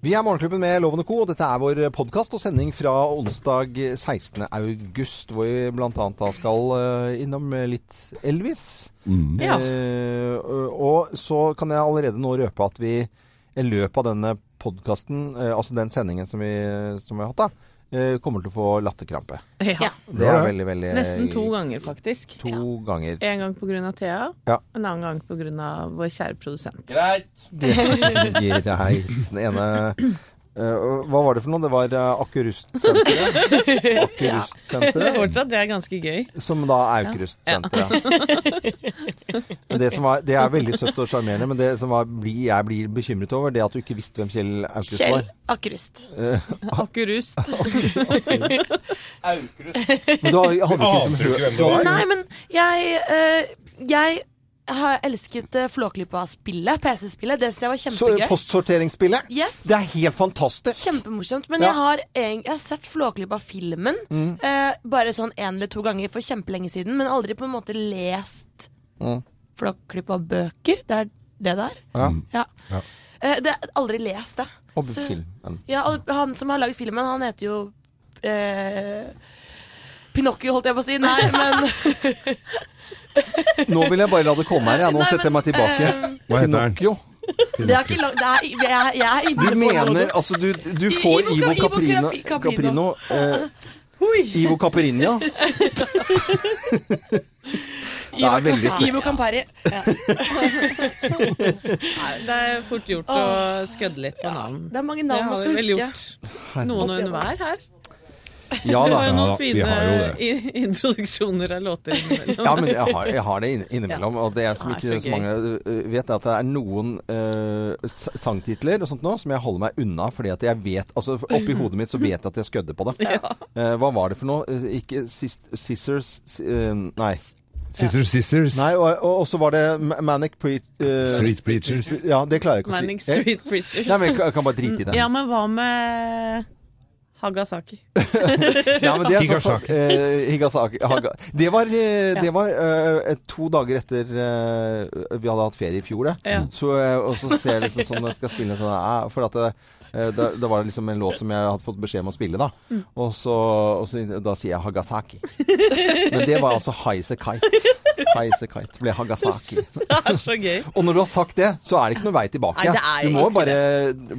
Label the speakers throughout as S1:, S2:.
S1: Vi er Morgenklubben med Loven og Co, og dette er vår podkast og sending fra onsdag 16. august, hvor vi bl.a. da skal eh, innom litt Elvis.
S2: Ja.
S1: Eh, og så kan jeg allerede nå røpe at vi i løpet av denne podkasten, eh, altså den sendingen som vi, som vi har hatt, da, eh, kommer til å få latterkrampe.
S2: Ja.
S3: Ja.
S1: Det er veldig, veldig
S2: Nesten to ganger, faktisk.
S1: Eh, To ganger.
S2: En gang pga. Thea,
S1: Ja.
S2: en annen gang pga. vår kjære produsent.
S4: Greit.
S1: Greit. Den ene eh, Hva var det for noe? Det var eh, Akkurustsenteret. Akkurustsenteret.
S2: Fortsatt, det er ganske gøy.
S1: Som da Aukrust-senteret. det, som var- det er veldig søtt og sjarmerende, men det som var, blir- jeg blir bekymret over, det er at du ikke visste hvem Kjell Aukrust
S3: Kjell
S1: var.
S3: Akkerust.
S2: Akkurust.
S4: Aukrust.
S1: Men du hadde ikke liksom
S4: Ante du ikke hvem det
S1: hørt
S4: var?
S3: Nei, men jeg eh, Jeg har elsket eh, Flåklypa-spillet, PC-spillet. Det syns jeg var
S1: Så
S3: kjempegøy.
S1: Postsorteringsspillet?
S3: Yes.
S1: Det er helt fantastisk!
S3: Kjempemorsomt. Men
S1: Ja. Mm.
S3: jeg, har, egen- jeg har sett Flåklypa-filmen eh, bare sånn én eller to ganger for kjempelenge siden, men aldri på en måte lest
S1: Mm.
S3: Flåklypa-bøker. Det er det det er.
S1: Ja,
S3: Ja. Eh, det er aldri lest det.
S1: og
S3: Så-
S1: filmen.
S3: Ja, og han som har laget filmen, han heter jo eh, Pinocchio, holdt jeg på å si. Nei, men
S1: Nå vil jeg bare la det komme her, jeg. Nå
S3: Nei,
S1: setter jeg meg
S3: men,
S1: tilbake.
S3: eh,
S5: Hva heter den?
S1: Pinocchio.
S3: det er ikke langt det er, jeg, jeg er inne
S1: Du
S3: på
S1: mener
S3: noe.
S1: altså Du, du
S3: I-
S1: får
S3: Ivo
S1: Ivo
S3: Cap- Ivo
S1: Caprino,
S3: Caprino.
S1: Caprino eh, Ivo Caprinia. Det er veldig søtt.
S3: Ivo Campari. Ja.
S2: Det er fort gjort å skødde litt på navn.
S3: Det er mange
S2: Det
S3: navn man
S2: har vi
S3: skal
S2: vel
S3: huske.
S2: gjort. Noen og enhver her.
S1: Ja
S2: Vi
S1: da.
S2: har jo
S5: Ja
S2: noen
S5: da, vi
S2: fine
S5: har jo det.
S2: i- introduksjoner av låter
S1: Ja,
S2: innimellom.
S1: men jeg har, jeg har det inn- innimellom. Og det er som
S2: Ja, det er
S1: ikke
S2: så
S1: så mange øh, vet, er at det er noen øh, s- sangtitler og sånt nå som jeg holder meg unna fordi at jeg vet Altså oppi hodet mitt så vet jeg at jeg skødder på det. Eh, hva var det for noe? Eh, Ikke sis, Scissors si- eh, Nei.
S5: Scissors, Scissors,
S1: nei og, og og så var det Ma- Manic Pre... eh,
S5: Street Preachers.
S1: Ja, det klarer jeg ikke å si.
S2: Manning
S1: Jeg,
S2: Street Preachers.
S1: nei, men jeg kan- jeg kan bare drite i det.
S2: Ja, men hva med Hagasaki?
S1: Ja, men det er sånn-
S5: Higasaki.
S1: eh, Higasaki. Haga. Det var, eh, det var eh, eh, to dager etter eh, vi hadde hatt ferie i fjor, det.
S2: Ja.
S1: Så, eh, og så ser jeg liksom sånn jeg skal spille en sånn eh, For at det, eh, da, da var det liksom en låt som jeg hadde fått beskjed om å spille, da. Og så, og så da sier jeg Hagasaki. Men det var altså Highasakite Kite. Kite ble Hagasaki.
S2: Det er så gøy.
S1: Og når du har sagt det, så er det ikke noe vei tilbake.
S2: Nei, det er
S1: du
S2: jo
S1: må
S2: ikke
S1: bare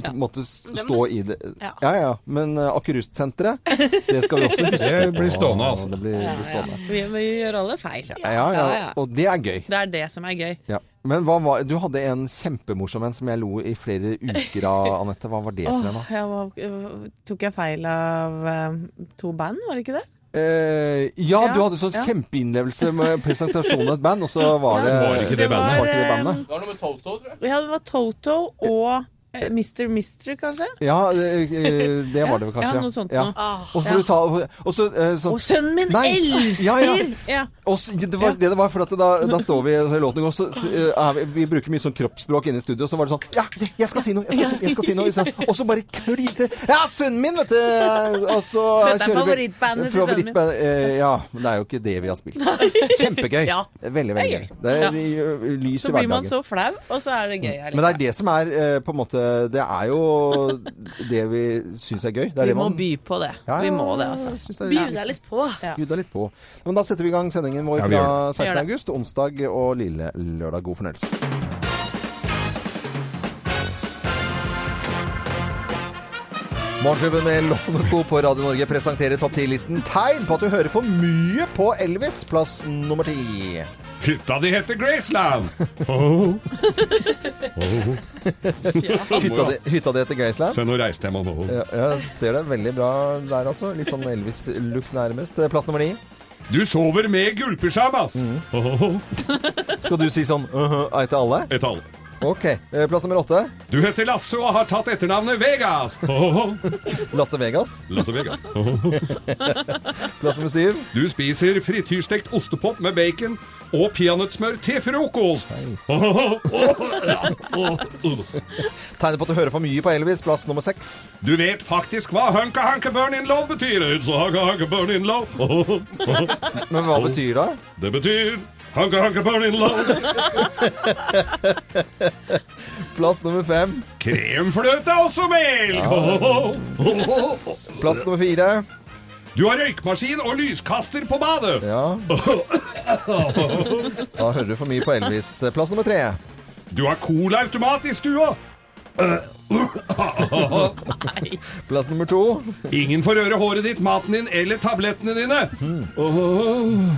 S1: på en måte stå i det.
S3: Ja.
S1: Ja ja. Men uh, Akkurustsenteret, det skal vi også huske.
S5: Det blir
S1: på.
S5: stående, altså.
S1: Det blir, blir stående.
S2: Vi, vi gjør alle feil.
S1: Ja, ja, Og det er gøy.
S2: Det er det som er gøy.
S1: Ja. Men hva var, du hadde en kjempemorsom en som jeg lo i flere uker av, Anette. Hva var det for en, da?
S2: Åh, jeg var, øh, tok jeg feil av øh, to band, var det ikke det?
S1: Eh, ja,
S2: Ja,
S1: du hadde sånn
S2: ja.
S1: kjempeinnlevelse med presentasjonen av et band, og så var det
S5: var ikke det bandet.
S1: var ikke det
S2: var, eh,
S1: bandet.
S4: Det var noe med Toto, tror jeg.
S2: øh, Ja, det var Toto og øh, Mr. Mister, kanskje?
S1: Ja, eh, eh, det var det vel kanskje.
S2: Ja, noe sånt noe.
S3: Ah,
S1: Og så får du ta Og så eh, sånn
S2: Og sønnen min
S1: Nei.
S2: elsker!
S1: Ja, ja.
S2: Ja.
S1: Og så- det var
S2: Ja.
S1: det det var, for at da, da står vi i låten går, så, så er vi, vi bruker mye sånn kroppsspråk inne i studio, og så var det sånn Ja, jeg- jeg skal si noe! Jeg skal, si- jeg skal si noe! Så, og så bare klinte Ja, sønnen min, vet du! Og så
S2: Dette er
S1: kjører vi
S2: favorittbandet til sønnen min.
S1: favorittband, eh, Ja. Men det er jo ikke det vi har spilt. Kjempegøy.
S2: Ja.
S1: Veldig, veldig gøy. Det
S2: Ja.
S1: er det gjør lys
S2: Så
S1: i
S2: blir man
S1: hverdagen.
S2: så flau, og så er det gøy.
S1: Mm.
S2: liksom.
S1: Men det er det som er eh, på en måte Det er jo det vi syns er gøy. Det er
S2: vi
S1: det
S2: må
S1: man
S2: by på det.
S1: Ja,
S2: Vi må det, altså.
S1: synes det er-
S3: Bjuder deg litt på.
S1: Bjuda litt på. Men da setter vi i gang sendingen vår
S5: Ja, vi
S1: fra
S5: gjør
S1: 16.
S2: Gjør det.
S1: august, onsdag og lille lørdag. God fornøyelse. Morgenklubben med Loven og Co. på Radio Norge presenterer topp 10-listen tegn på at du hører for mye på Elvis, plass nummer ti.
S5: Hytta di heter Graceland! Oh. Oh.
S1: Hytta di- hytta di heter Graceland.
S5: Se, nå reiste jeg meg nå.
S1: Ja, jeg ser det veldig bra der, altså. Litt sånn Elvis-look nærmest. Eh, Plass nummer ni.
S5: Du sover med gullpysjamas! Oh.
S1: Skal du si sånn uh ei til alle?
S5: Et alle.
S1: OK. Eh, Plass nummer åtte.
S5: Du heter Lasse og har tatt etternavnet Vegas! Oh.
S1: Lasse Vegas.
S5: Lasse Vegas. Oh.
S1: Plass nummer syv.
S5: Du spiser frityrstekt ostepop med bacon og peanøttsmør til frokost! Oh. Oh. Ja. Oh. Oh.
S1: Tegnet på at du hører for mye på Elvis, plass nummer seks.
S5: Du vet faktisk hva hunka hunka burn in love betyr. It's hunka hunka burn in love.
S1: Men hva betyr det?
S5: Det betyr Hunka, hunka, burning low.
S1: Plass nummer fem.
S5: Kremfløte altså, er også melk.
S1: Plass nummer fire.
S5: Du har røykmaskin og lyskaster på badet.
S1: Ja. Da hører du for mye på Elvis. Plass nummer tre.
S5: Du har colaautomat i stua.
S1: Plass nummer to.
S5: Ingen får røre håret ditt, maten din eller tablettene dine.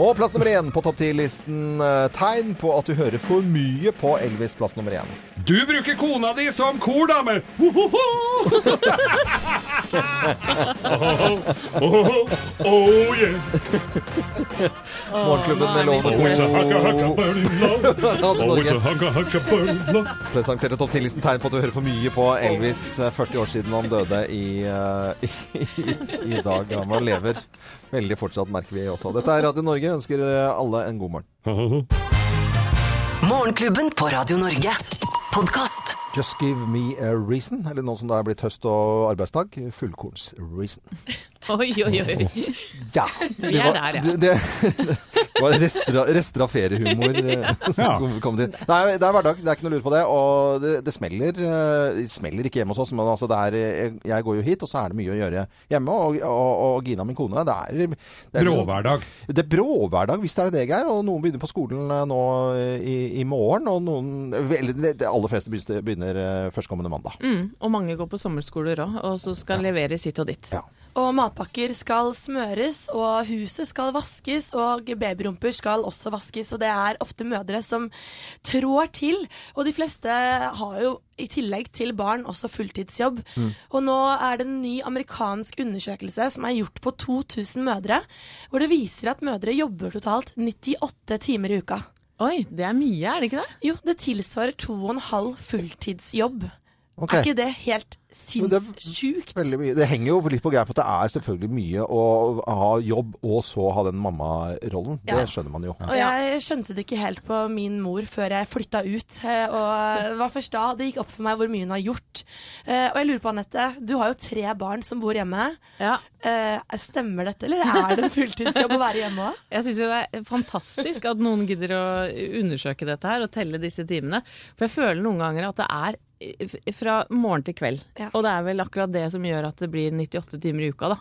S1: Og plass nummer én på topp ti-listen. eh, Tegn på at du hører for mye på Elvis. Plass nummer én.
S5: Du bruker kona di som kordame. Oh, yeah.
S1: Morgenklubben med Lovende
S5: Oh,
S1: Co. Radio
S5: it's a hunka, hunka, burning low. Oh, it's a
S1: Norge
S5: hunka, hunka, burning low.
S1: presenterte topp ti-listen tegn på at du hører for mye på Elvis eh, 40 år siden han døde i, eh, i, i, i dag. Han var lever veldig fortsatt, merker vi også. Dette er Radio Norge. Ønsker eh, alle en god morgen.
S4: Morgenklubben på Radio Norge. Podkast.
S1: Just give me a reason, eller noe som da er blitt høst og arbeidsdag. Fullkorns-reason.
S6: Oi, oi, oi.
S1: Ja. Det
S6: er
S1: var,
S6: der, ja.
S1: det, det, det var rester, av- rester av feriehumor eh, som kom, kom dit. Det er, det er hverdag, det er ikke noe lurt på det. Og det, det smeller. eh, Det smeller ikke hjemme hos oss, men altså det er, eh, jeg går jo hit, og så er det mye å gjøre hjemme. Og, og, og Gina, min kone, det er, det er liksom-
S5: Bråhverdag.
S1: det er brå hverdag, hvis det er det jeg er. Og noen begynner på skolen eh, nå eh, i, i morgen. Og noen Eller de de aller fleste begynner- begynner eh, førstkommende mandag.
S2: Mm, og mange går på sommerskoler òg, og så skal levere sitt og ditt.
S1: Ja.
S3: Og matpakker skal smøres, og huset skal vaskes, og babyrumper skal også vaskes. Og det er ofte mødre som trår til. Og de fleste har jo i tillegg til barn også fulltidsjobb.
S1: Mm.
S3: Og nå er det en ny amerikansk undersøkelse som er gjort på 2000 mødre, hvor det viser at mødre jobber totalt 98 timer i uka.
S2: Oi, det er mye, er det ikke det?
S3: Jo, det tilsvarer to og en halv fulltidsjobb.
S1: Ok.
S3: Er ikke det helt
S1: Jo, det er
S3: sinnssjukt?
S1: Veldig mye. Det henger jo litt på greip at det er selvfølgelig mye å ha jobb og så ha den mammarollen. Det
S3: Ja.
S1: skjønner man jo.
S3: Og jeg skjønte det ikke helt på min mor før jeg flytta ut. eh, Og det var først da det gikk opp for meg hvor mye hun har gjort. Eh, Og jeg lurer på, Anette, du har jo tre barn som bor hjemme.
S2: Ja.
S3: Eh, Stemmer dette, eller er det en fulltidsjobb å være hjemme òg?
S2: Jeg syns jo det er fantastisk at noen gidder å undersøke dette her og telle disse timene. For jeg føler noen ganger at det er eh, fra morgen til kveld.
S3: Ja.
S2: Og det er vel akkurat det som gjør at det blir 98 timer i uka, da.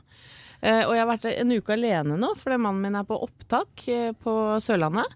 S2: Eh, Og jeg har vært en uke alene nå, fordi mannen min er på opptak eh, på Sørlandet.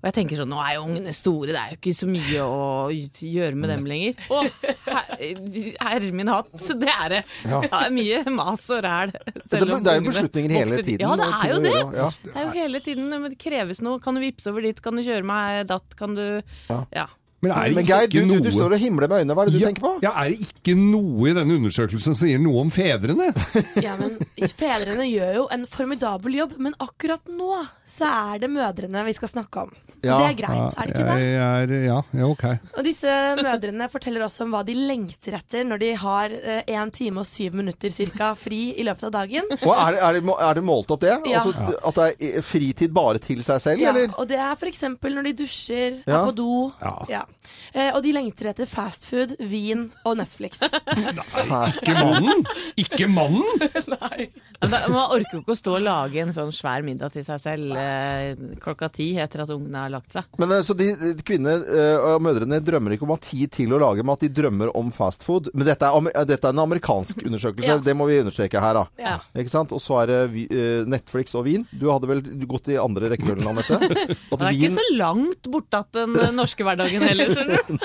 S2: Og jeg tenker sånn, nå er jo ungene store, det er jo ikke så mye å gjøre med dem lenger. Å, her- herre min hatt, så det er det. Ja, det er mye mas og ræl.
S1: Det,
S2: selv om
S1: det er jo
S2: ungene
S1: beslutninger hele
S2: vokser-
S1: tiden.
S2: Ja, det
S1: og
S2: er
S1: ting
S2: jo
S1: å
S2: det.
S1: gjøre, ja.
S2: Det er jo hele tiden men det kreves noe. Kan du vippse over dit? Kan du kjøre meg datt? Kan du
S1: Ja.
S2: Ja.
S5: Men er
S1: Men Geir, du, du, du står og himler med øynene. Hva er det du
S5: ja,
S1: tenker på?
S5: ja, er det ikke noe i denne undersøkelsen som sier noe om fedrene?
S3: Ja, men fedrene gjør jo en formidabel jobb, men akkurat nå så er det mødrene vi skal snakke om.
S1: Ja.
S3: Det er greit, er det ikke det?
S5: Jeg er, ja, ja, ok.
S3: Og disse mødrene forteller også om hva de lengter etter når de har én time og syv minutter cirka fri i løpet av dagen.
S1: Og er, det, er, det, må- er det målt opp det?
S3: Ja.
S1: Altså, d- at det er fritid bare til seg selv,
S3: Ja,
S1: eller?
S3: og det er f.eks. når de dusjer,
S1: Ja.
S3: er på do.
S5: Ja.
S3: Eh, og de lengter etter fast food, vin og Netflix.
S1: Fast.
S5: Ikke mannen? Ikke mannen?
S2: Men da- Man orker jo ikke å stå og lage en sånn svær middag til seg selv eh, klokka ti etter at ungene har lagt seg.
S1: Men eh, så de de kvinner eh, og mødrene drømmer ikke om å ha tid til å lage mat, de drømmer om fast food. Men dette er, amer- eh, dette er en amerikansk undersøkelse,
S3: Ja.
S1: det må vi understreke her, da.
S3: Ja.
S1: Ikke sant? Og så er det vi- eh, Netflix og vin. Du hadde vel gått i andre rekkefølgen, Anette? At
S2: Det er ikke så langt borte at den eh, norske hverdagen heller, skjønner du.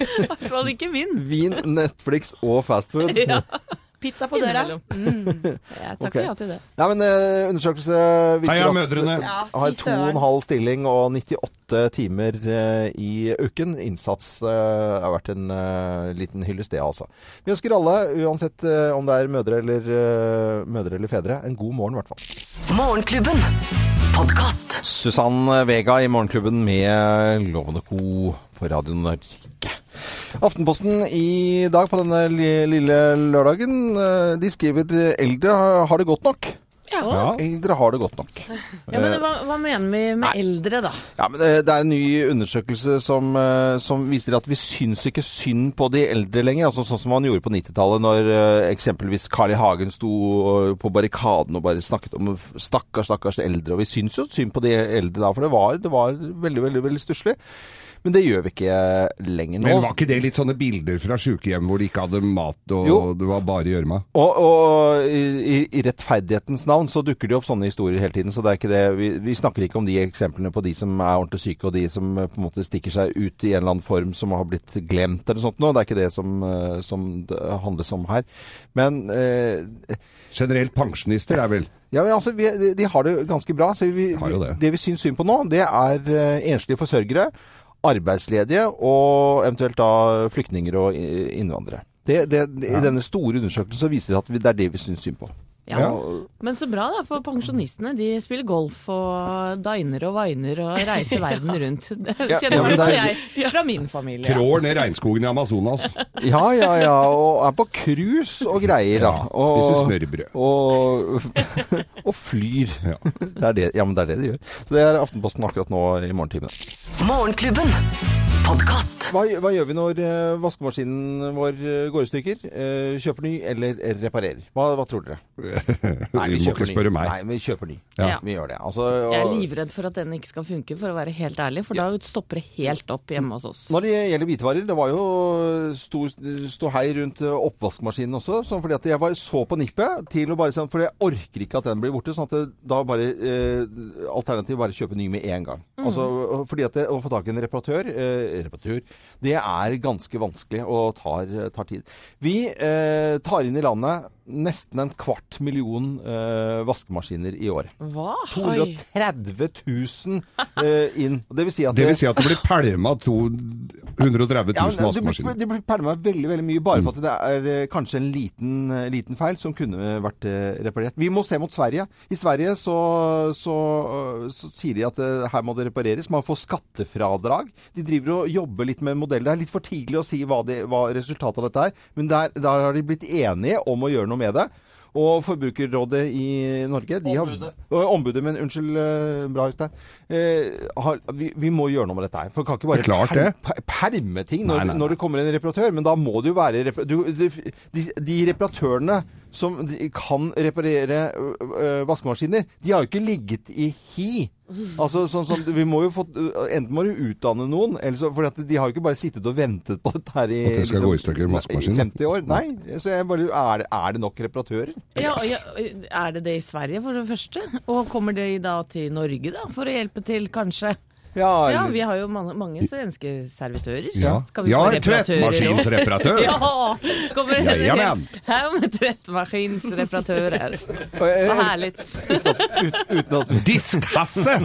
S2: I hvert fall ikke min.
S1: Vin, Netflix og fastfood.
S2: Ja,
S3: Pizza på døra. Mm.
S2: innimellom. Jeg takker
S1: Ok.
S2: ja til det.
S1: Nei, men eh, undersøkelse viser
S5: Heia
S1: at
S5: mødrene.
S1: eh,
S3: Ja, fy
S1: har to og en
S3: søren.
S1: halv stilling og 98 timer eh, i uken. Innsats eh, har vært en eh, liten hyllest, det altså. Vi ønsker alle, uansett eh, om det er mødre eller, eh, mødre eller fedre, en god morgen i hvert fall.
S4: Morgenklubben. Podkast.
S1: Susann Vega i Morgenklubben med Lovende Co. på Radio Norge. Aftenposten i dag på denne li- lille lørdagen, eh, de skriver eldre har det godt nok.
S2: Ja.
S1: Eldre har det godt nok.
S2: Ja, men hva, hva mener vi med eldre, da?
S1: Ja, men eh, det, det er en ny undersøkelse som, eh, som viser at vi syns ikke synd på de eldre lenger. Altså Sånn som man gjorde på 90-tallet, når eh, eksempelvis Carl I. Hagen sto eh, på barrikaden og bare snakket om stakkars, stakkars eldre. Og vi syns jo synd på de eldre da, for det var, det var veldig, veldig, veldig stusslig. Men det gjør vi ikke lenger nå.
S5: Men var ikke det litt sånne bilder fra sjukehjem hvor de ikke hadde mat og
S1: Jo.
S5: det var bare gjørma?
S1: Og, og i, i- i rettferdighetens navn så dukker det opp sånne historier hele tiden. Så det er ikke det. Vi, vi snakker ikke om de eksemplene på de som er ordentlig syke, og de som eh, på en måte stikker seg ut i en eller annen form som har blitt glemt eller sånt noe. Det er ikke det som, eh, som det handles om her. Men eh,
S5: Generelt pensjonister er vel
S1: ja, men altså, vi, de- de har det ganske bra. Så vi,
S5: Har jo det.
S1: det vi syns synd på nå, det er eh, enslige forsørgere, arbeidsledige og eventuelt da flyktninger og i- innvandrere. Det, det, I denne store undersøkelsen så viser det at vi, det er det vi syns synd på.
S2: Ja. Men så bra, da, for pensjonistene de spiller golf og diner og viner og reiser verden rundt. Det kjenner
S1: ja, men
S2: i hvert fall
S1: det
S2: jeg fra min familie.
S5: trår ned regnskogen i Amazonas.
S1: Ja, ja, ja. Og er på cruise og greier, da.
S5: Ja,
S1: Og,
S5: spiser smørbrød.
S1: Og, og flyr.
S5: Ja.
S1: Det er det, ja, men det er det de gjør. Så det er Aftenposten akkurat nå i morgentimene.
S4: Morgenklubben. Podkast.
S1: Hva, hva gjør vi når eh, vaskemaskinen vår eh, går i stykker? Eh, kjøper ny eller reparerer? Hva, hva tror dere?
S5: Nei, du må ikke spørre meg.
S1: Nei, vi kjøper ny.
S5: Ja.
S2: Ja.
S1: Vi gjør det. Altså,
S2: Jeg er
S1: og-
S2: livredd for at den ikke skal funke, for å være helt ærlig. For da stopper det helt opp hjemme hos oss.
S1: Når det gjelder hvitevarer, det var jo stor ståhei rundt eh, oppvaskmaskinen også. sånn fordi at jeg var så på nippet til å bare sånn, For jeg orker ikke at den blir borte. sånn at det, da bare eh, Alternativet bare kjøpe ny med en gang. Altså, og- fordi at det, Å få tak i en reparatør, eh, reparatør det er ganske vanskelig og tar, tar tid. Vi eh, tar inn i landet nesten en kvart million eh, vaskemaskiner i året.
S2: Hva? Oi.
S1: 230 000 eh, inn. Og Det vil si at
S5: Det vil si at det blir pælma 130
S1: ja,
S5: 000
S1: men det blir,
S5: vaskemaskiner.
S1: det blir pælma veldig veldig mye, bare for at det er eh, kanskje en liten, eh, liten feil som kunne vært eh, reparert. Vi må se mot Sverige. I Sverige så, så, eh, så sier de at eh, her må det repareres. Man får skattefradrag. De driver og jobber litt med modeller. Det er litt for tidlig å si hva, det, hva resultatet av dette er, men der, der har de blitt enige om å gjøre noe med det. Og Forbrukerrådet i Norge de har, ombudet. ombudet, men unnskyld, eh, bra Øystein. Eh, har, vi, vi må gjøre noe med dette her. For vi kan ikke bare
S5: Det er klart det.
S1: per- perme ting når,
S5: Nei, nei, nei.
S1: når det kommer en reparatør, men da må det jo være repa- du, du, de, de reparatørene som de kan reparere ø, ø, vaskemaskiner, de har jo ikke ligget i hi. Altså, sånn som, vi må jo få, enten må du utdanne noen, eller så, for at de har jo ikke bare sittet og ventet på dette her i, liksom,
S5: At det skal gå i stykker, vaskemaskinen.
S1: i 50 år. Nei, så jeg bare, er, det, er det nok reparatører?
S2: Ja, og ja, er det det i Sverige, for det første? Og kommer de da til Norge, da, for å hjelpe til, kanskje?
S1: Ja,
S2: Ja, vi har jo mange, mange svenske servitører.
S5: Ja,
S2: Skal vi
S5: ja
S2: få reparatører òg?
S5: tvettmaskinsreparatør!
S2: Ja! Kommer det
S5: Ja, ja, men.
S2: Her med tvettmaskinsreparatører.
S1: Eh,
S2: Så
S1: eller-
S2: herlig.
S1: uten at vi,
S5: Diskhasse!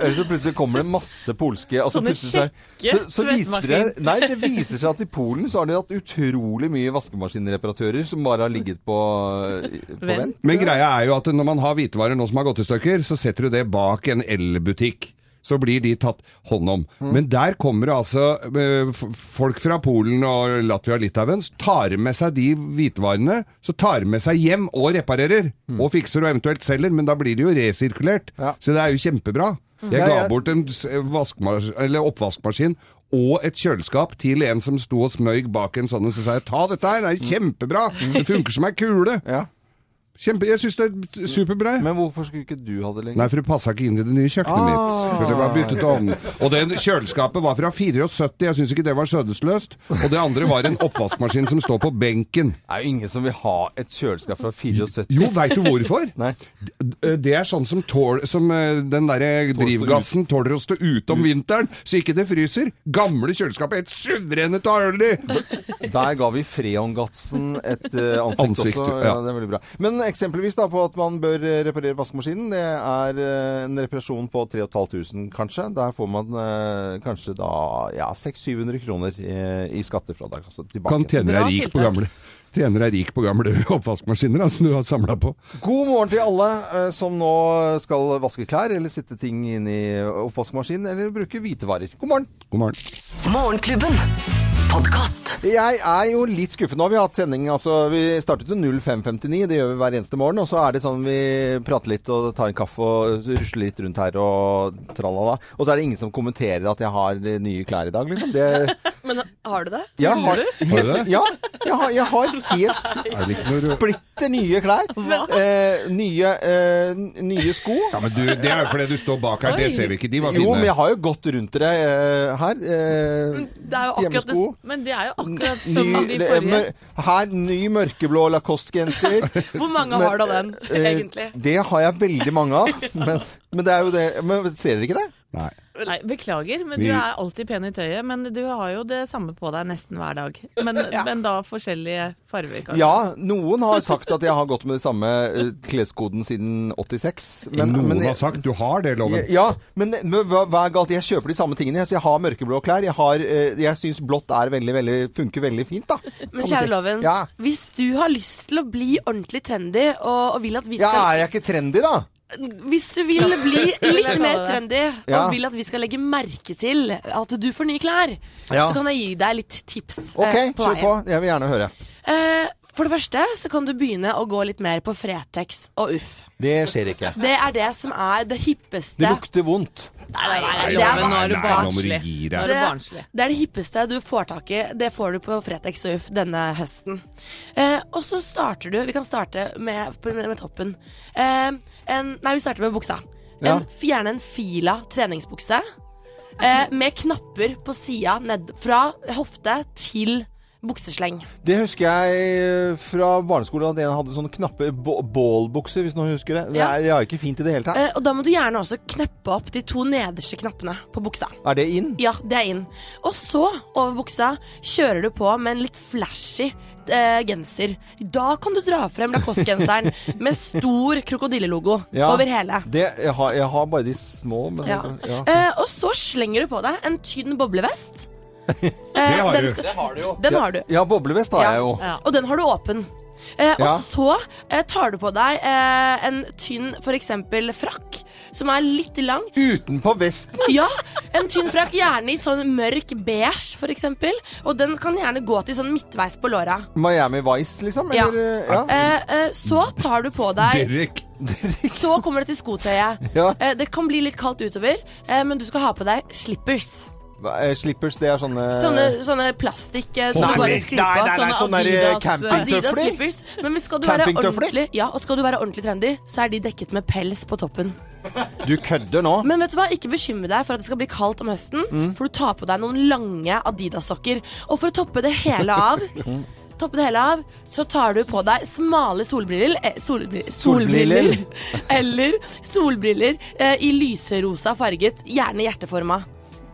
S1: eller så plutselig kommer det masse polske og så
S2: Sånne
S1: plutselig så, er-
S2: kjekke
S1: så, så viser det,
S2: toalettmaskiner.
S1: Nei, det viser seg at i Polen så har de hatt utrolig mye vaskemaskinreparatører som bare har ligget på, eh, på
S2: Vent.
S1: vent.
S5: Men greia er jo at når man har hvitevarer nå som har gått i stykker, så setter du det bak en elbutikk. Så blir de tatt hånd om.
S1: Mm.
S5: Men der kommer det altså eh, f- folk fra Polen og Latvia og Litauen, så tar med seg de hvitevarene, så tar med seg hjem og reparerer. Og fikser og eventuelt selger, men da blir det jo resirkulert.
S1: Mm. Ja. Mm.
S5: Så det er jo kjempebra. Jeg
S1: Ja,
S5: ga
S1: jeg-
S5: bort en s- vaskmas- eller oppvaskmaskin og et kjøleskap til en som sto og smøg bak en sånn, og så sa jeg ta dette her, det er kjempebra!
S1: Mm.
S5: Det funker som ei kule!
S1: Ja.
S5: Kjempe, jeg syns det er superbra. jeg. Ah.
S1: Men hvorfor skulle ikke du ha det lenger?
S5: Nei, for det passa ikke inn i det nye kjøkkenet mitt. For det var byttet om. Og det kjøleskapet var fra 74, jeg syns ikke det var skjødesløst. Og det andre var en oppvaskmaskin som står på benken.
S1: Det er jo ingen som vil ha et kjøleskap fra 74.
S5: Jo, veit du hvorfor?
S1: Nei.
S5: D- Det er sånn som, tål, som eh, den derre drivgassen tåler å stå ute om vinteren, så ikke det fryser. Gamle kjøleskapet er helt suverene til å ha øl i!
S1: Der ga vi Freongatsen et eh, ansikt,
S5: Ansikt,
S1: også. Ja.
S5: ja.
S1: det er veldig bra. Men eksempelvis da på at man bør eh, reparere vaskemaskinen. Det er eh, en reparasjon på 3500 kanskje. Der får man eh, kanskje da ja, 600-700 kroner i, i skattefradrag. Altså tilbake.
S5: Kan tjener
S2: Bra
S5: er rik på
S2: tiltak.
S5: gamle Trener er rik på gamle oppvaskmaskiner da, som du har samla på.
S1: God morgen til alle eh, som nå skal vaske klær, eller sitte ting inn i oppvaskmaskinen, eller bruke hvitevarer. God morgen!
S5: God morgen.
S4: Morgenklubben. Podkast.
S1: Jeg er jo litt skuffet nå. Vi har hatt sending altså, Vi startet jo 05.59, det gjør vi hver eneste morgen. Og så er det sånn vi prater litt og tar en kaffe og rusler litt rundt her og tralala. Og så er det ingen som kommenterer at jeg har eh, nye klær i dag, liksom. Det,
S7: Men har du det?
S1: jeg har,
S5: Har du det?
S1: ja, jeg har, jeg har helt
S5: Er det ikke noe rød-
S1: splitter nye klær. Eh, nye, eh, n- nye sko.
S5: Ja, men du, Det er jo fordi du står bak her, det ser vi ikke. De var
S1: Jo, men jeg
S5: fine.
S1: har jo gått rundt dere eh, her. Eh,
S7: Det er jo akkurat det
S1: hjemmesko.
S2: Men det er jo akkurat
S1: Ny,
S2: som de
S1: det er
S2: forrige.
S1: mør- her, ny mørkeblå Lacoste-genser.
S7: Hvor mange
S1: Men,
S7: har du av den,
S1: eh,
S7: egentlig?
S1: Det har jeg veldig mange av. Men, men det er jo det Men ser dere ikke det?
S5: Nei.
S2: Nei, beklager, men
S5: Vi-
S2: du er alltid pen i tøyet. Men du har jo det samme på deg nesten hver dag. Men, men da forskjellige farger, kanskje.
S1: Ja, noen har sagt at jeg har gått med det samme eh, kleskoden siden 86. Men,
S5: Noen
S1: men jeg-
S5: har sagt du har det, Loven.
S1: Ja, men, men hva hva er galt? Jeg kjøper de samme tingene. Jeg, jeg har mørkeblå klær. Jeg, har, eh, jeg syns blått er veldig, veldig, funker veldig fint, da. Kan
S3: Men
S1: du
S3: kjære
S1: si.
S3: Loven,
S1: Ja.
S3: hvis du har lyst til å bli ordentlig trendy, og, og vil at vi
S1: ja,
S3: skal
S1: er jeg ikke trendy, da?
S3: Hvis du vil bli litt
S2: jeg
S3: mer
S2: kalle det.
S3: trendy,
S1: Ja.
S3: og vil at vi skal legge merke til at du får nye klær,
S1: Ja.
S3: så kan jeg gi deg litt tips eh,
S1: OK,
S3: på
S1: kjør
S3: veien.
S1: på. Jeg vil gjerne høre.
S3: Eh, for det første så kan du begynne å gå litt mer på Fretex og Uff.
S1: Det skjer ikke.
S3: Det er det som er det hippeste
S1: Det lukter vondt.
S3: Nei, nei, nei,
S2: Nei,
S3: det er
S2: men nå
S3: bare-
S2: er du
S5: Nei, nå må du
S2: barnslig.
S5: gi deg.
S2: Nå er du barnslig.
S3: det, det er det hippeste du får tak i. Det får du på Fretex og Uff denne høsten. Eh, og så starter du Vi kan starte med, med, med toppen. Eh, en, nei, vi starter med buksa.
S1: Ja.
S3: En, gjerne en fila treningsbukse eh, med knapper på sida ned fra hofte til buksesleng.
S1: Det husker jeg eh, fra barneskolen, at en hadde sånne knappe bå- bålbukser, hvis noen husker det. Det
S3: Ja.
S1: er, det er ikke fint i det hele tatt.
S3: Eh, og da må du gjerne også kneppe opp de to nederste knappene på buksa.
S1: Er det inn?
S3: Ja, det er inn. Og så, over buksa, kjører du på med en litt flashy eh, genser. Da kan du dra frem Lacoste-genseren med stor krokodillelogo
S1: Ja.
S3: over hele.
S1: Det, jeg, har, jeg har bare de små, men
S3: Ja.
S1: ja.
S3: Eh, og så slenger du på deg en tynn boblevest. Eh,
S5: har
S3: den
S5: du.
S3: Skal, den har du.
S1: Ja, boblevest har
S3: Ja.
S1: jeg jo.
S2: Ja.
S3: Og den har du åpen. Eh,
S1: Ja.
S3: Og så eh, tar du på deg eh, en tynn f.eks. frakk, som er litt lang,
S1: Utenpå vesten.
S3: Ja, en tynn frakk, gjerne i sånn mørk beige, for eksempel. Og den kan gjerne gå til sånn midtveis på låra.
S1: Miami Vice, liksom?
S3: Ja.
S1: Eller, ja.
S3: Eh, eh, så tar du på deg
S5: Dirk.
S3: Så kommer det til skotøyet.
S1: Ja.
S3: Eh, det kan bli litt kaldt utover, eh, men du skal ha på deg slippers.
S1: Hva- eh, Slippers, det er sånne
S3: Sånne, sånne plastikk eh, som
S1: Nei,
S3: du bare
S1: nei,
S3: sklir
S1: nei,
S3: på.
S1: nei,
S2: sånne
S1: sånne der, eh,
S2: Adidas,
S3: Adidas
S1: campingtøfler.
S3: slippers. Men hvis skal du være
S1: Campingtøfler?
S3: ordentlig Ja, og skal du være ordentlig trendy, så er de dekket med pels på toppen.
S1: Du kødder nå?
S3: Men vet du hva, ikke bekymre deg for at det skal bli kaldt om høsten,
S1: Mm.
S3: for du tar på deg noen lange Adidas-sokker. Og for å toppe det hele av Toppe det hele av, så tar du på deg smale solbriller eh, solbri-
S1: Solbriller.
S3: Eller solbriller eh, i lyserosa farget, gjerne hjerteforma.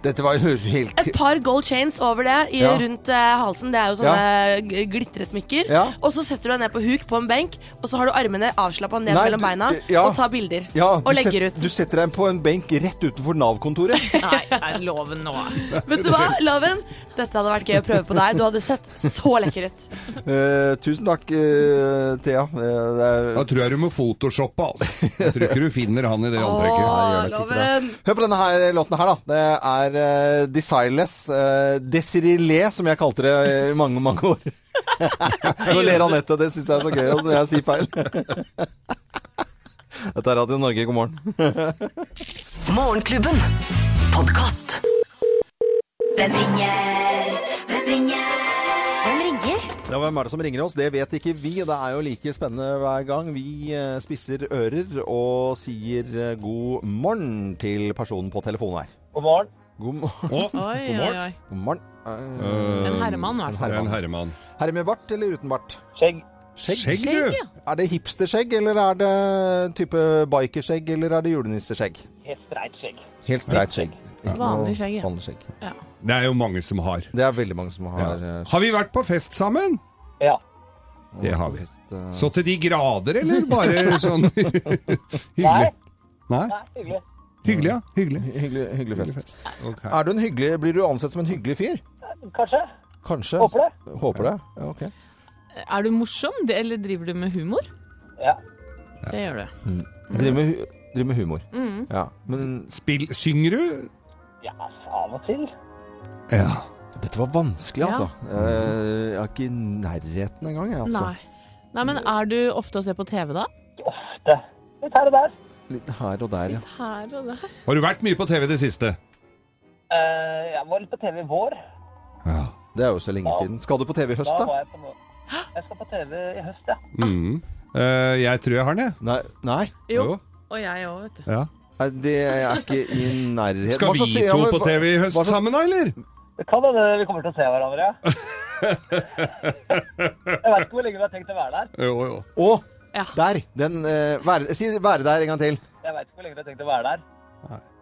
S1: Dette var jo helt
S3: Et par gold chains over det i,
S1: Ja.
S3: rundt eh, halsen. Det er jo sånne g- glitresmykker.
S1: Ja.
S3: Og så setter du deg ned på huk på en benk, og så har du armene avslappa ned
S1: Nei,
S3: mellom
S1: du-
S3: beina
S1: det- ja.
S3: og tar bilder.
S1: Ja,
S3: og
S1: du set-
S3: legger ut.
S1: Du setter deg på en benk rett utenfor Nav-kontoret.
S2: Nei, nei, loven nå.
S3: Vet du hva, Loven? Dette hadde vært gøy å prøve på deg. Du hadde sett så lekker ut.
S1: Eh, tusen takk, eh, Thea. Eh, det er
S5: Da tror jeg du må photoshoppe, altså. Jeg tror ikke du finner han i det antrekket.
S1: Nei, jeg gjør nok ikke det. Hør på denne her låten her, da. Det er uh, Desireless. Uh, Desirilé, som jeg kalte det i mange, mange år. Nå ler Anette, det syns jeg er så gøy når jeg sier feil. Dette er Radio Norge, god morgen.
S4: Morgenklubben. Podkast.
S8: Hvem ringer? Hvem ringer? Hvem ringer?
S1: Ja, Hvem er det som ringer oss? Det vet ikke vi. Det er jo like spennende hver gang. Vi eh, spisser ører og sier eh, god morgen til personen på telefonen her. God morgen.
S5: Å,
S2: Oi, oi, oi.
S1: God morgen. Eh,
S5: øh,
S2: En herremann, i hvert fall.
S5: det er en herremann.
S1: Herre med bart eller uten bart? Skjegg. Skjegg?
S5: Skjegg, du!
S2: Skjegg,
S1: Er det hipsterskjegg, eller er det type bikerskjegg, eller er det julenisseskjegg? Helt streit skjegg. Helt streit skjegg.
S2: Vanlig skjegg, ja.
S1: Vanlig skjegg.
S5: Det er jo mange som har.
S1: Det er veldig mange som har
S5: Ja.
S1: eh,
S5: Har vi vært på fest sammen?
S1: skjegg.
S5: det har vi.
S1: Fest, eh,
S5: Så til de grader, eller bare sånn hyggelig? Nei. Hyggelig, ja. Hyggelig.
S1: Hyggelig, hyggelig fest.
S5: Ok.
S1: Er du en hyggelig, blir du ansett som en hyggelig fyr? Kanskje. Kanskje. Håper det. Håper det, ja, ok.
S2: Er du morsom, det- eller driver du med humor? Ja. Det gjør du.
S1: Driver med, hu- driver med humor.
S2: Mm.
S1: Ja. Men
S5: Spill, synger du?
S9: Av og til.
S5: Ja.
S1: Dette var vanskelig,
S2: Ja.
S1: altså. Eh, Jeg er ikke i nærheten engang, jeg, altså.
S2: Nei. Nei, men er du ofte å se på TV da?
S7: Litt her og der.
S1: Litt her og der, ja.
S2: Her og der.
S5: Har du vært mye på TV i det siste?
S7: Eh, jeg var litt på TV i vår.
S1: Det er jo så lenge siden. Skal du på TV i høst,
S7: Da
S1: da?
S7: var jeg på noe. Jeg skal på TV i høst, ja.
S5: Mm. Eh, jeg tror jeg har den, jeg.
S1: Nei. Nei.
S5: Jo.
S2: Og jeg òg, vet du.
S5: Ja.
S1: Nei, Det er jeg ikke i nærheten
S5: Skal
S1: Hva slags-
S5: vi
S1: ja,
S5: to
S1: men
S5: på
S1: hva-
S5: TV i høst
S1: hva slags-
S5: sammen, da, eller?
S7: Det kan hende vi kommer til å se hverandre, ja. Jeg vet ikke hvor lenge vi har tenkt å være der.
S5: Jo, jo.
S1: Å,
S2: Ja.
S1: der! Den eh, være, Si 'være der' en gang til.
S7: Jeg vet ikke hvor lenge vi har tenkt å være der.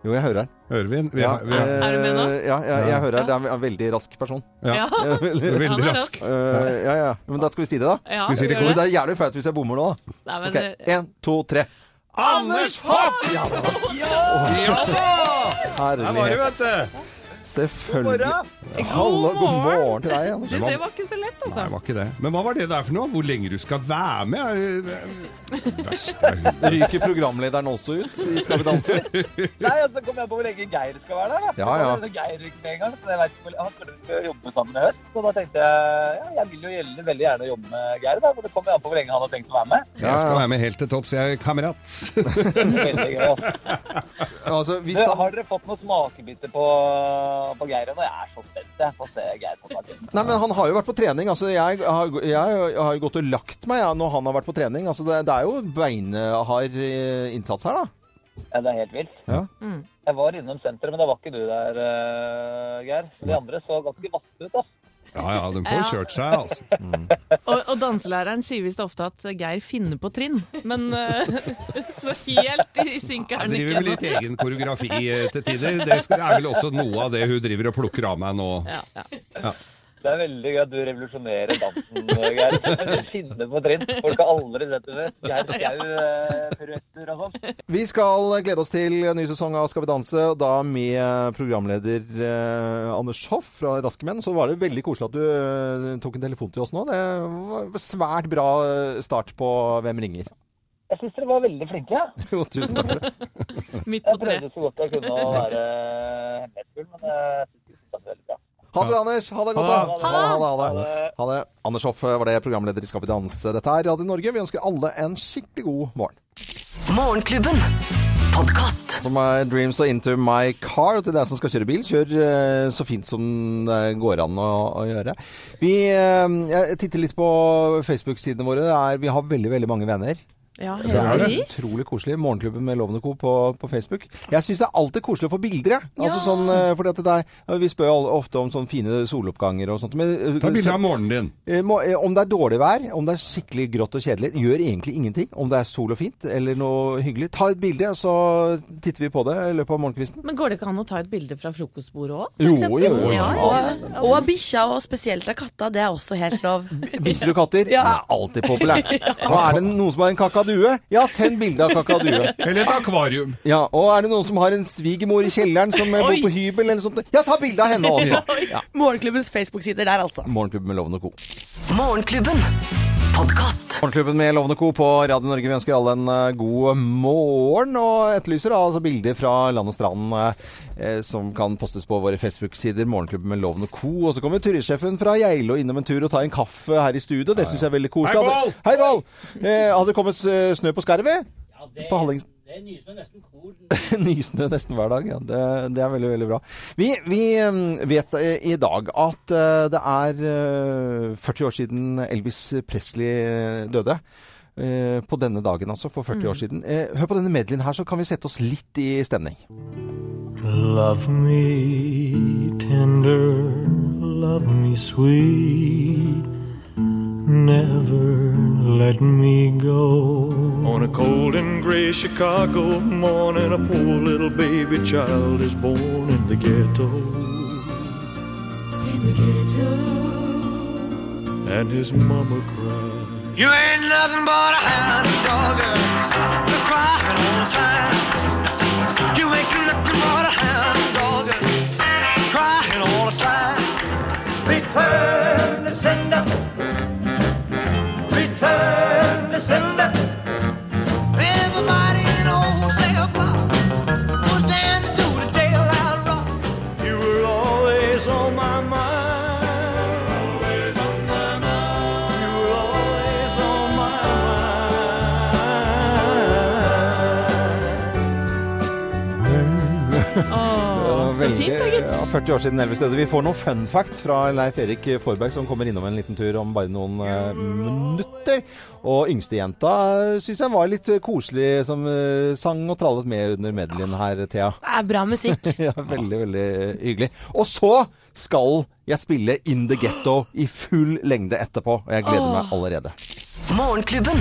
S1: Jo, jeg hører den.
S5: Ørvin, vi
S1: Ja,
S5: har, vi har,
S2: Er du med nå?
S1: eh, Ja, ja, jeg hører den. Det er en veldig rask person.
S5: ja.
S2: Ja.
S1: Veldig-
S2: Han
S5: Veldig
S2: er
S5: rask.
S1: Eh, ja, ja. Men da skal vi si det, da.
S2: Ja,
S5: Skal vi si
S2: gjør
S5: det i kor?
S1: Men det er jævlig flaut hvis jeg bommer nå, da.
S2: Nei, men eh,
S1: Ok,
S2: det-
S1: Én, to, tre. Anders Hoff! Ja, det var-
S5: Ja da! Der var eh, det,
S1: herlighet.
S5: vet du.
S1: Selvfølgelig. Hallo, god morgen til deg, Anders.
S2: Du, det var ikke så lett,
S5: Nei,
S2: altså.
S5: det var ikke det. Men hva var det der for noe? Hvor lenge du skal være med? Er det- det verste er hun.
S1: Ryker programlederen også ut i Skal vi danse?
S7: Nei, og så kom jeg på hvor lenge Geir skal være der. da.
S1: Ja, ja.
S7: Så kom Geir gikk med en gang, så jeg vet ikke hvor Han skulle ikke jobbe sammen i høst. Så da tenkte jeg ja, jeg vil jo gjelde, veldig gjerne jobbe med Geir. da, for Det kommer jo an på hvor lenge han har tenkt å være med.
S5: Jeg skal være med helt til topps, jeg, kamerat.
S7: Veldig gøy. altså.
S1: Altså, hvis
S7: Du,
S1: han...
S7: har dere fått noen smakebiter på, på Geir ennå? Jeg er så spent jeg, på å se Geir på dagen.
S1: Nei, men han har jo vært på trening. Altså, jeg har, jeg har jo gått og lagt meg ja, når han har vært på trening. Altså, det, det er jo beinhard eh, innsats her, da.
S7: Ja, det er helt vilt.
S1: Ja.
S7: Jeg var innom senteret, men da var ikke du der, eh, Geir. De andre så ganske vasse ut, ass.
S5: Ja ja, de får kjørt seg, altså.
S2: Og, og danselæreren sier visst ofte at Geir finner på trinn, men eh, så helt i synk er
S5: Jeg
S2: han
S5: driver med litt
S2: ikke.
S5: egen koreografi eh, til tider. Det skal- er vel også noe av det hun driver og plukker av meg nå.
S2: Ja, ja.
S7: Det er veldig gøy at du revolusjonerer dansen, eh, Geir. Du skinner på trinn. Folk har aldri sett det før. Geir Skau-piruetter og sånn.
S1: Vi skal glede oss til en ny sesong av Skal vi danse, og da med programleder eh, Anders Hoff fra Raske menn. Så var det veldig koselig at du eh, tok en telefon til oss nå. Det var svært bra eh, start på Hvem ringer.
S7: Jeg syns dere var veldig flinke. Ja.
S1: Jo, tusen takk for det.
S2: Midt på
S7: Jeg
S2: treet.
S7: prøvde så godt jeg kunne å være hemmelighetsfull, men eh, jeg syns det var veldig bra.
S1: Ha det bra, Anders. Ha det godt.
S5: Ha
S1: da. Ha det.
S5: det.
S1: Ha det, ha det. Ha det. Anders Hoff eh, var det, programleder i Skal vi danse. Dette er Radio Norge. Vi ønsker alle en skikkelig god morgen.
S4: Morgenklubben. Podkast.
S1: Som er Dreams og Into My Car. Og til deg som skal kjøre bil, kjør eh, så fint som det går an å, å gjøre. Vi eh, jeg titter litt på Facebook-sidene våre. Det er, vi har veldig, veldig mange venner.
S2: Ja,
S1: Det er det.
S2: heldigvis.
S1: utrolig koselig. Morgenklubben med Lovende Co. på, på Facebook. Jeg syns det er alltid koselig å få bilder, jeg. Altså, sånn, eh, fordi at det er, vi spør jo alle- ofte om sånne fine soloppganger og sånt. Men, eh,
S5: Ta bilde
S1: se-
S5: av morgenen din.
S1: Eh, må- eh, Om det er dårlig vær, om det er skikkelig grått og kjedelig, gjør egentlig ingenting. Om det er sol og fint eller noe hyggelig, ta et bilde, så titter vi på det i løpet av morgenkvisten.
S2: Men går det ikke an å ta et bilde fra frokostbordet òg?
S1: Jo, jo, jo.
S3: Og, og bikkja, og spesielt av katta, det er også helt lov.
S1: Bikkjer og katter er alltid populært. Og er det noen som har en kakadue? Ja, send bilde av kakadue.
S5: Eller et akvarium.
S1: Ja, og er det noen som har en svigermor i kjelleren som eh, bor på hybel eller noe sånt? Ja, ta bilde av henne også.
S3: Morgenklubbens Facebook-sider der, altså.
S1: Morgenklubben med Loven og Co.
S4: Morgenklubben. Podkast.
S1: Morgenklubben med Lovende Co. på Radio Norge. Vi ønsker alle en eh, god morgen og etterlyser da altså bilder fra land og strand eh, som kan postes på våre Facebook-sider. Morgenklubben med Lovende Co. Og så kommer turistsjefen fra Geilo innom en tur og tar en kaffe her i studio. Det syns jeg er veldig koselig.
S5: Hei,
S1: Hadde-
S5: Pål!
S1: Hei, Pål! Eh, hadde det kommet eh, snø på skarvet? På Hallingstad?
S9: Det nyser nesten kor.
S1: Nysende nesten hver dag. Ja. Det, det er veldig, veldig bra. Vi, vi eh, vet eh, i dag at eh, det er eh, 40 år siden Elvis Presley eh, døde. Eh, På denne dagen, altså, for 40
S2: Mm.
S1: år siden. Eh, Hør på denne medleyen her, så kan vi sette oss litt i stemning.
S9: Love me tender, love me sweet. Never let me go. On a cold and gray Chicago morning, a poor little baby child is born in the ghetto. And his mama cried. You ain't nothing but a hound dog, crying all the time. You ain't nothing but a hound dog crying all the time. Return the sender. Return the sender. Everybody in old cell block was dancing to the jailhouse rock. You were always on my mind.
S1: veldig-
S2: fint da, gitt.
S1: ja, 40 år siden Elvis døde. Vi får noen fun fact fra Leif Erik Forberg, som kommer innom en liten tur om bare noen eh, minutter. Og yngstejenta syns jeg var litt eh, koselig, som eh, sang og trallet med under medleyen her, Thea.
S3: Det er bra musikk.
S1: ja, veldig, veldig eh, hyggelig. Og så skal jeg spille In The Ghetto i full lengde etterpå, og jeg gleder meg allerede.
S4: Morgenklubben.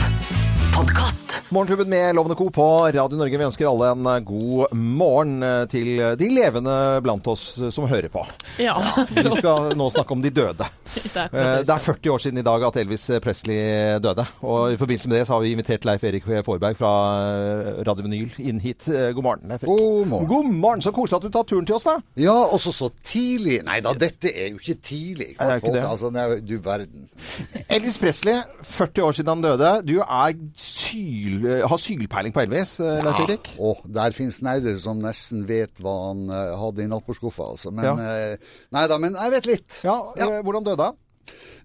S4: Podkast.
S1: Morgenklubben med Lovende Co. på Radio Norge. Vi ønsker alle en eh, god morgen eh, til de levende blant oss eh, som hører på.
S2: Ja.
S1: Vi skal nå snakke om de døde.
S2: Det
S1: Eh, Det er 40 år siden i dag at Elvis Presley døde. Og i forbindelse med det så har vi invitert Leif Erik Forberg fra eh, Radio Vinyl inn hit. Eh, God morgen, Leif Erik. God morgen. Så koselig at du tar turen til oss, da.
S10: Ja, også så tidlig. Nei da, dette er jo ikke tidlig.
S1: Er det ikke det?
S10: Altså, nei, du verden.
S1: Elvis Presley, 40 år siden han døde. Du er syl, har sylpeiling på Elvis, eh, Leif Erik.
S10: Og der finnes nerder som nesten vet hva han eh, hadde i nattbordskuffa, altså. Men,
S1: Ja.
S10: eh, nei da, men jeg vet litt.
S1: eh, Hvordan døde han?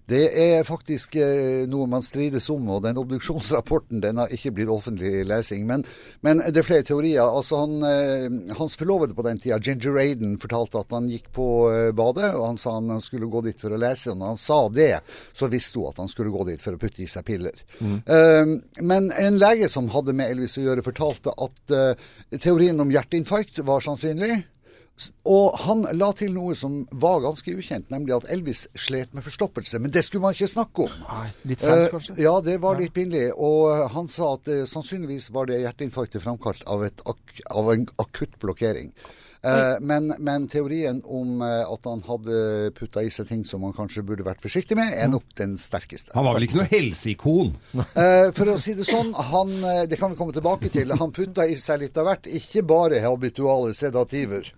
S10: Det er faktisk eh, noe man strides om, og den obduksjonsrapporten den har ikke blitt offentlig lesing. Men, men det er flere teorier. Altså han, eh, Hans forlovede på den tida, Ginger Aiden, fortalte at han gikk på eh, badet, og han sa han, han skulle gå dit for å lese. Og når han sa det, så visste hun at han skulle gå dit for å putte i seg piller. Eh, men en lege som hadde med Elvis å gjøre, fortalte at eh, teorien om hjerteinfarkt var sannsynlig. Og han la til noe som var ganske ukjent, nemlig at Elvis slet med forstoppelse. Men det skulle man ikke snakke om.
S1: litt flaut,
S10: Eh,
S1: kanskje?
S10: Ja, det var litt pinlig. Og eh, han sa at eh, sannsynligvis var det hjerteinfarktet framkalt av, et ak av en akutt blokkering. Eh, men, men teorien om eh, at han hadde putta i seg ting som han kanskje burde vært forsiktig med, er nok den sterkeste.
S5: Han var vel ikke noe helseikon?
S10: Eh, for å si det sånn, han, eh, det kan vi komme tilbake til, han putta i seg litt av hvert. Ikke bare habituale sedativer.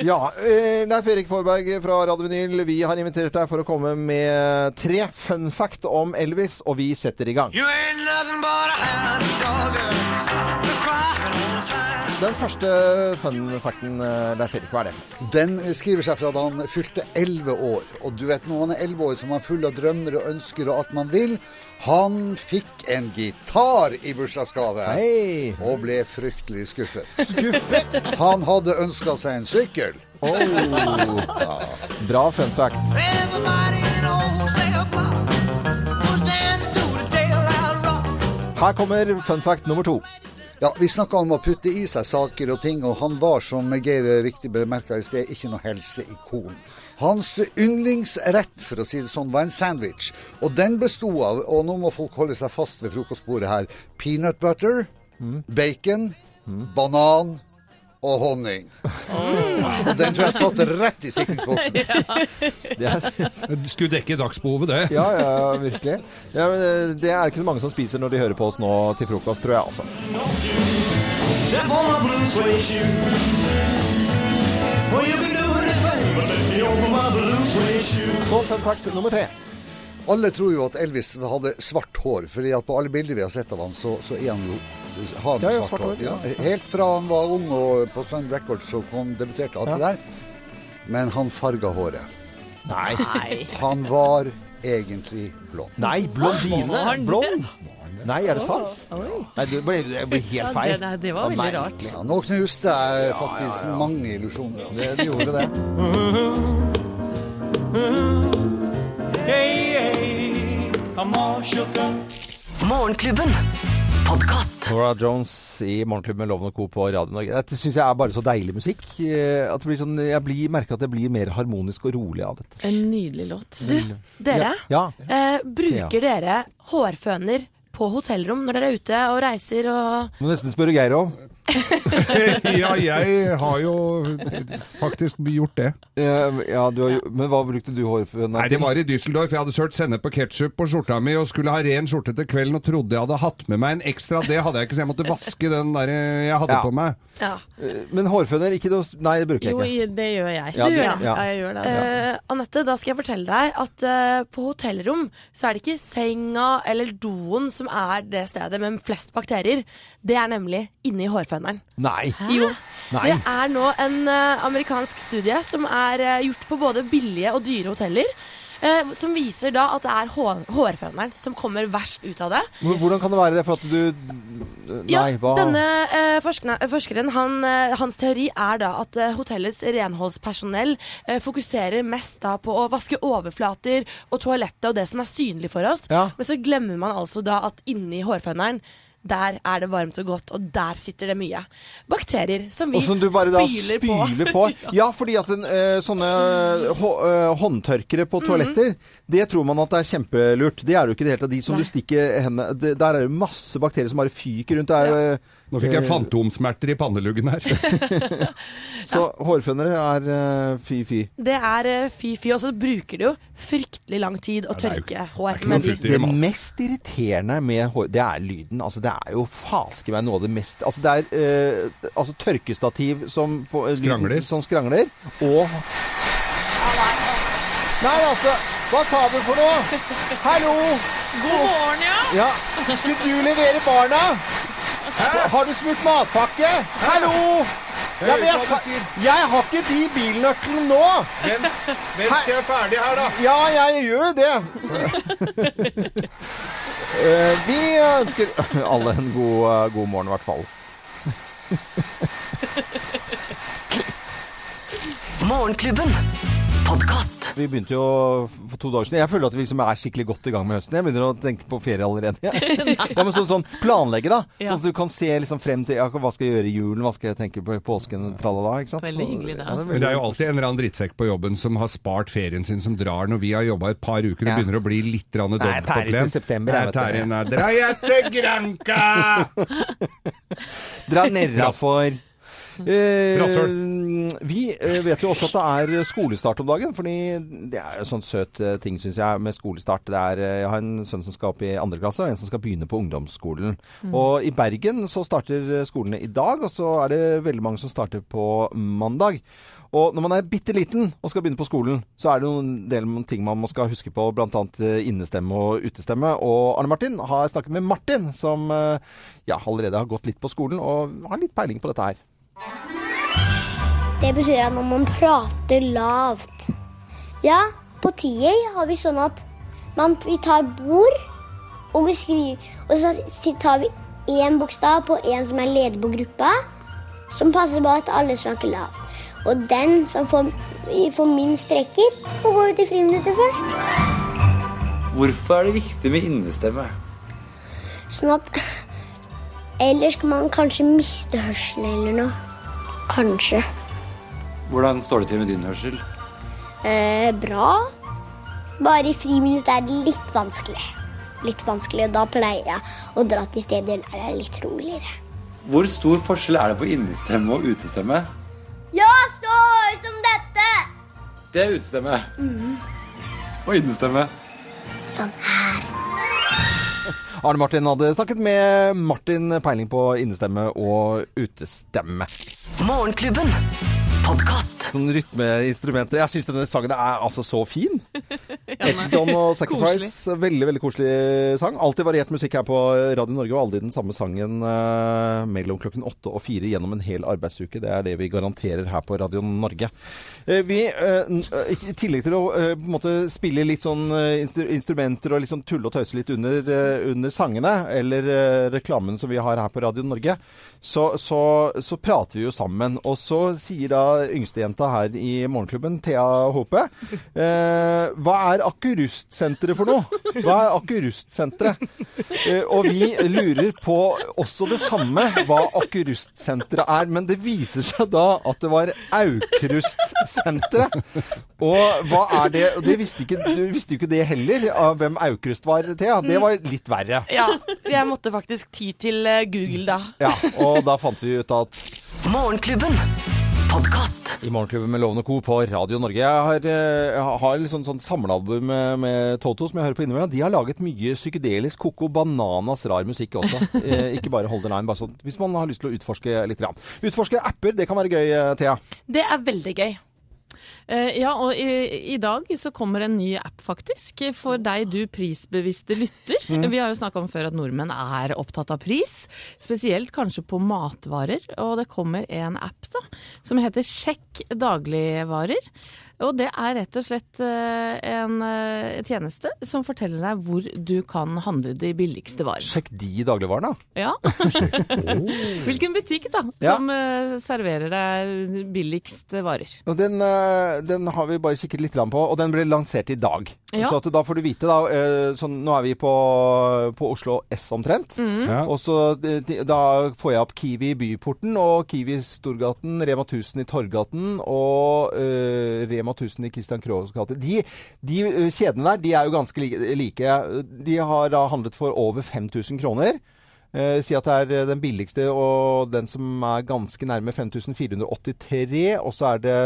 S1: Ja, eh, Leif Erik Forberg fra Radio Vinyl, vi har invitert deg for å komme med tre fun fact om Elvis, og vi setter i gang.
S8: You ain't nothing but a hound dog. The crying
S1: Den første fun facten, eh, Leif Erik, hva er det for?
S10: Den skriver seg fra da han fylte 11 år. Og du vet når man er 11 år, så er man full av drømmer og ønsker og alt man vil. Han fikk en gitar i bursdagsgave. Og ble fryktelig skuffet.
S1: Skuffet?
S10: Han hadde ønska seg en sykkel.
S1: Ja. Bra fun fact.
S8: Everybody in old cell block was dancing to the taillight rock.
S1: Her kommer fun fact nummer to.
S10: Ja, Vi snakka om å putte i seg saker og ting, og han var, som Geir riktig bemerka i sted, ikke noe helseikon. Hans yndlingsrett for å si det sånn, var en sandwich. Og den besto av, og nå må folk holde seg fast ved frokostbordet her, peanut butter, bacon, banan og honning. Og den tror jeg satt rett i sikringsboksen.
S5: Skulle dekke dagsbehovet, det.
S1: Ja, ja, ja, virkelig. Ja, men, eh, det er ikke så mange som spiser når de hører på oss nå til frokost, tror jeg, altså.
S8: Step on my blue suede shoe. Well, you can do anything, but let me open my blue suede shoe.
S1: Så fun fact nummer tre.
S10: Alle tror jo at Elvis hadde svart hår, fordi at på alle bilder vi har sett av han, så, så er han jo har han
S1: Ja, ja,
S10: svart,
S1: svart
S10: hår.
S1: hår, ja.
S10: Ja, helt fra han var ung og på Sun Records så kom debuterte alt det der. Men han farga håret.
S1: Nei. Nei.
S10: Han var egentlig blond.
S1: Nei, blondine. Blond. Nei, er det sant? Nei, det ble, det ble helt feil. Merkelig.
S10: Ja, nå knuste jeg faktisk mange illusjoner. altså.
S1: Det, det gjorde det.
S4: Morgenklubben. Podkast.
S1: Nora Jones i Morgenklubben med Loven og Co. på Radio Norge. Dette syns jeg er bare så deilig musikk. eh, At det blir sånn, jeg blir, merker at jeg blir mer harmonisk og rolig av dette.
S2: En nydelig låt.
S3: Du, dere.
S1: Ja.
S3: Eh, bruker dere hårføner på hotellrom når dere er ute og reiser og
S1: Må nesten spørre Geir om.
S5: ja, jeg har jo faktisk gjort det.
S1: Eh, Ja, du har jo Men hva brukte du hårføna
S5: Nei, det var i Düsseldorf. Jeg hadde sølt sennep og ketsjup på skjorta mi og skulle ha ren skjorte til kvelden og trodde jeg hadde hatt med meg en ekstra. Det hadde jeg ikke, så jeg måtte vaske den der jeg hadde
S1: Ja.
S5: på meg.
S1: Eh, Men hårføner, ikke noe Nei, det bruker jeg
S2: Jo,
S1: ikke.
S2: i- det gjør jeg.
S1: Ja,
S3: Du
S1: det-
S3: gjør det.
S1: ja.
S2: Ja, jeg gjør det. Altså.
S3: Eh, Anette, da skal jeg fortelle deg at eh, på hotellrom så er det ikke senga eller doen som er det stedet med flest bakterier. Det er nemlig inni hårføneren.
S1: Nei.
S3: Jo.
S1: Nei.
S3: Det er nå en eh, amerikansk studie som er eh, gjort på både billige og dyre hoteller. eh, som viser da at det er hår, hårforanderen som kommer verst ut av det.
S1: Hvor- Hvordan kan det være det? For at du Nei, hva
S3: Denne eh, forskne- forskeren, han, eh, hans teori er da at eh, hotellets renholdspersonell eh, fokuserer mest da på å vaske overflater og toalettet og det som er synlig for oss.
S1: Ja.
S3: Men så glemmer man altså da at inni hårføneren der er det varmt og godt, og der sitter det mye bakterier som vi
S1: Og som du bare da
S3: spyler,
S1: spyler på. Ja, fordi at en, eh, sånne hå, eh, håndtørkere på toaletter, det tror man at det er kjempelurt. Det er det jo ikke i det hele tatt. De som
S5: Nei.
S1: du stikker hendene det, Der er det masse bakterier som bare fyker rundt. Det er, jo, eh,
S5: Nå fikk jeg
S1: eh,
S5: fantomsmerter i panneluggen her.
S1: Så hårfønere er eh, fy-fy.
S3: Det er eh, fy-fy, og så bruker det jo fryktelig lang tid å tørke hår. men de-
S1: det mest irriterende med hår, det er lyden. Altså, det er jo faske meg noe av det mest Altså, det er eh, altså, tørkestativ som på, eh, lyden
S5: Skrangler.
S1: Som skrangler. Og Nei, altså, hva sa du for noe? Hallo!
S3: Eh,
S8: God morgen, ja.
S1: Ja, skulle du levere barna? Har du smurt matpakke? Hallo! Ja, men jeg,
S8: hva
S1: sa,
S8: du sier.
S1: jeg har ikke de bilnøklene nå!
S5: Vent, vent til jeg er ferdig her, da.
S1: Ja, jeg gjør jo det. Eh, Vi ønsker alle en god, eh, god morgen, i hvert fall.
S4: Morgenklubben. Podkast.
S1: Vi begynte jo for to dager siden. Jeg føler at vi liksom er skikkelig godt i gang med høsten. Jeg begynner å tenke på ferie allerede. Ja. Ja, men sånn, sånn planlegge, da.
S2: Ja.
S1: Sånn at du kan se liksom frem til ja, hva skal jeg gjøre i julen, hva skal jeg tenke på i påsken, tralala. Ikke sant?
S2: Veldig hyggelig, det,
S1: Ja,
S2: altså.
S5: Men det er jo alltid en eller annen drittsekk på jobben som har spart ferien sin, som drar når vi har jobba et par uker og begynner å bli litt grann
S1: Nei, jeg tærer
S5: dobbeltopplevd.
S1: til september, jeg,
S5: Nei,
S1: vet du.
S5: tærer- nei, Dra jeg til Granca!
S1: Dra nedafor. Eh,
S5: Rasshøl.
S1: vi eh, vet jo også at det er skolestart om dagen, fordi det er jo sånn søt eh, ting, syns jeg, med skolestart. Det er, eh, jeg har en sønn som skal opp i andre klasse, og en som skal begynne på ungdomsskolen.
S5: Mm.
S1: Og i Bergen så starter eh, skolene i dag, og så er det veldig mange som starter på mandag. Og når man er bitte liten og skal begynne på skolen, så er det noen del ting man må skal huske på, bl.a. innestemme og utestemme. Og Arne Martin har snakket med Martin, som eh, ja, allerede har gått litt på skolen og har litt peiling på dette her.
S11: Det betyr at man må prate lavt. Ja, på TI har vi sånn at man, vi tar bord, og vi skriver Og så si- tar vi én bokstav på en som er leder på gruppa, som passer på at alle snakker lavt. Og den som får, får minst rekker, får gå ut i friminuttet først.
S12: Hvorfor er det viktig med innestemme?
S11: Sånn at Ellers kan man kanskje miste hørselen eller noe. Kanskje.
S12: Hvordan står det til med din hørsel?
S11: Eh, bra. Bare i friminuttet er det litt vanskelig. Litt vanskelig, og da pleier jeg å dra til steder der det er litt roligere.
S12: Hvor stor forskjell er det på innestemme og utestemme?
S11: Ja, så høy som dette! Mm.
S12: Det er utestemme. Og innestemme.
S11: Sånn.
S1: Arne Martin hadde snakket med Martin peiling på innestemme og utestemme.
S4: Morgenklubben. Podkast.
S1: Sånn rytmeinstrumenter. Jeg syns denne sangen er altså så fin. Elton og Sacrifice. Veldig veldig koselig sang. Alltid variert musikk her på Radio Norge, og aldri den samme sangen eh, mellom klokken åtte og fire gjennom en hel arbeidsuke. Det er det vi garanterer her på Radio Norge. Eh, vi, eh, n- eh, I tillegg til å eh, på en måte spille litt sånn eh, instru instrumenter og liksom tulle og tøyse litt under, eh, under sangene, eller eh, reklamen som vi har her på Radio Norge, så, så, så prater vi jo sammen. Og så sier da yngstejenta her i Morgenklubben, Thea Håpe, eh, hva er Akurustsenteret for noe? Hva er Akurustsenteret? Eh, og vi lurer på også det samme, hva Akurustsenteret er. Men det viser seg da at det var Aukrustsenteret. Og hva er det? Og det visste ikke, du visste jo ikke det heller, av hvem Aukrust var, Thea. Det var litt verre.
S3: Ja, jeg måtte faktisk ty til eh, Google da.
S1: Ja, og da fant vi ut at
S4: Morgenklubben. Podkast.
S1: I Morgenklubben med Lovende Co. på Radio Norge. Jeg har, eh, jeg har liksom sånn samlealbum med, med Toto som jeg hører på innimellom. De har laget mye psykedelisk koko bananas rar musikk også. Eh, ikke bare Hold the Line, bare sånn hvis man har lyst til å utforske litt. Grann. Utforske apper, det kan være gøy, eh, Thea.
S3: Det er veldig gøy.
S2: Eh, ja, og i, i dag så kommer en ny app faktisk for deg du prisbevisste lytter.
S6: Mm.
S2: Vi har jo snakka om før at nordmenn er opptatt av pris, spesielt kanskje på matvarer. Og det kommer en app da, som heter Sjekk dagligvarer. Og det er rett og slett eh, en eh, tjeneste som forteller deg hvor du kan handle de billigste varene.
S1: Sjekk de dagligvarene, da.
S2: Ja. Hvilken butikk da
S1: Ja.
S2: som eh, serverer deg billigst varer.
S1: Og den, eh, den har vi bare kikket litt grann på, og den ble lansert i dag.
S2: Ja.
S1: Så at da får du vite, da eh, sånn, Nå er vi på, på Oslo S omtrent.
S2: Mhm. Ja.
S1: Og så eh, de- da får jeg opp Kiwi i Byporten og Kiwi i Storgaten, Rema 1000 i Torgaten og eh, Rema 1000 i Christian Krohgs gate. De, de eh, kjedene der de er jo ganske li- like. De har da handlet for over 5000 kroner. Eh, si at det er eh, den billigste og den som er ganske nærme 5483. Og så er det